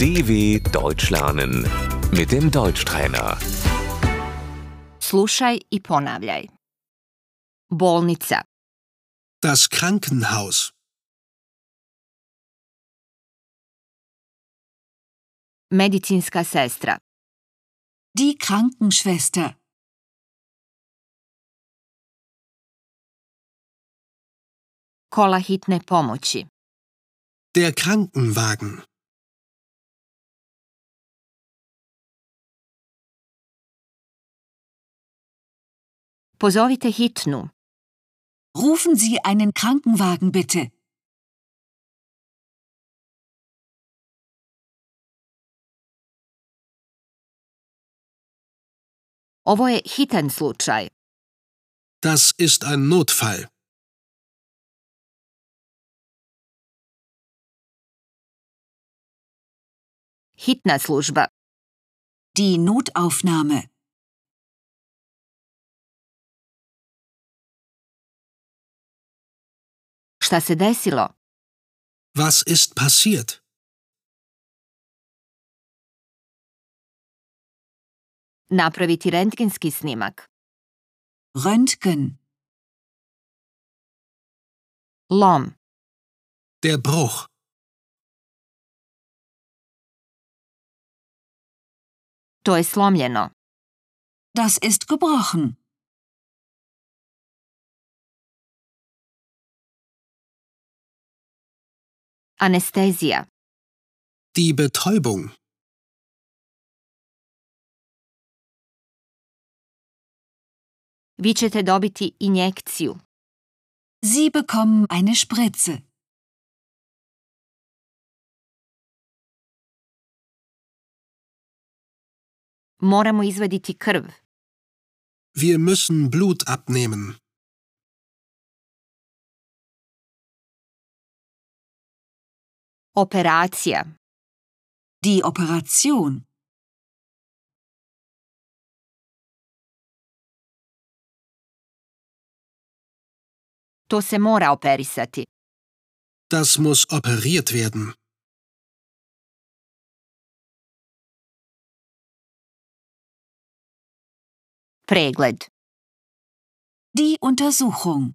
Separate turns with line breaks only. DW Deutsch lernen mit dem Deutschtrainer.
Slušaj i ponavljaj. Bolnica,
Das Krankenhaus.
medicinska sestra,
Die Krankenschwester.
kola hitne pomoći,
Der Krankenwagen.
pozovite hitnu,
Rufen Sie einen Krankenwagen bitte.
ovo je hitan slučaj,
Das ist ein Notfall.
hitna služba,
Die Notaufnahme.
šta se desilo,
Was ist passiert?
napraviti rentgenski snimak,
Röntgen.
lom,
Der Bruch.
to je slomljeno,
Das ist gebrochen.
anestezija,
Die Betäubung.
vi ćete dobiti injekciju,
Sie bekommen eine Spritze.
moramo izvaditi krv,
Wir müssen Blut abnehmen.
operacija,
Die Operation.
to se mora operisati,
Das muss operiert werden.
pregled.
Die Untersuchung.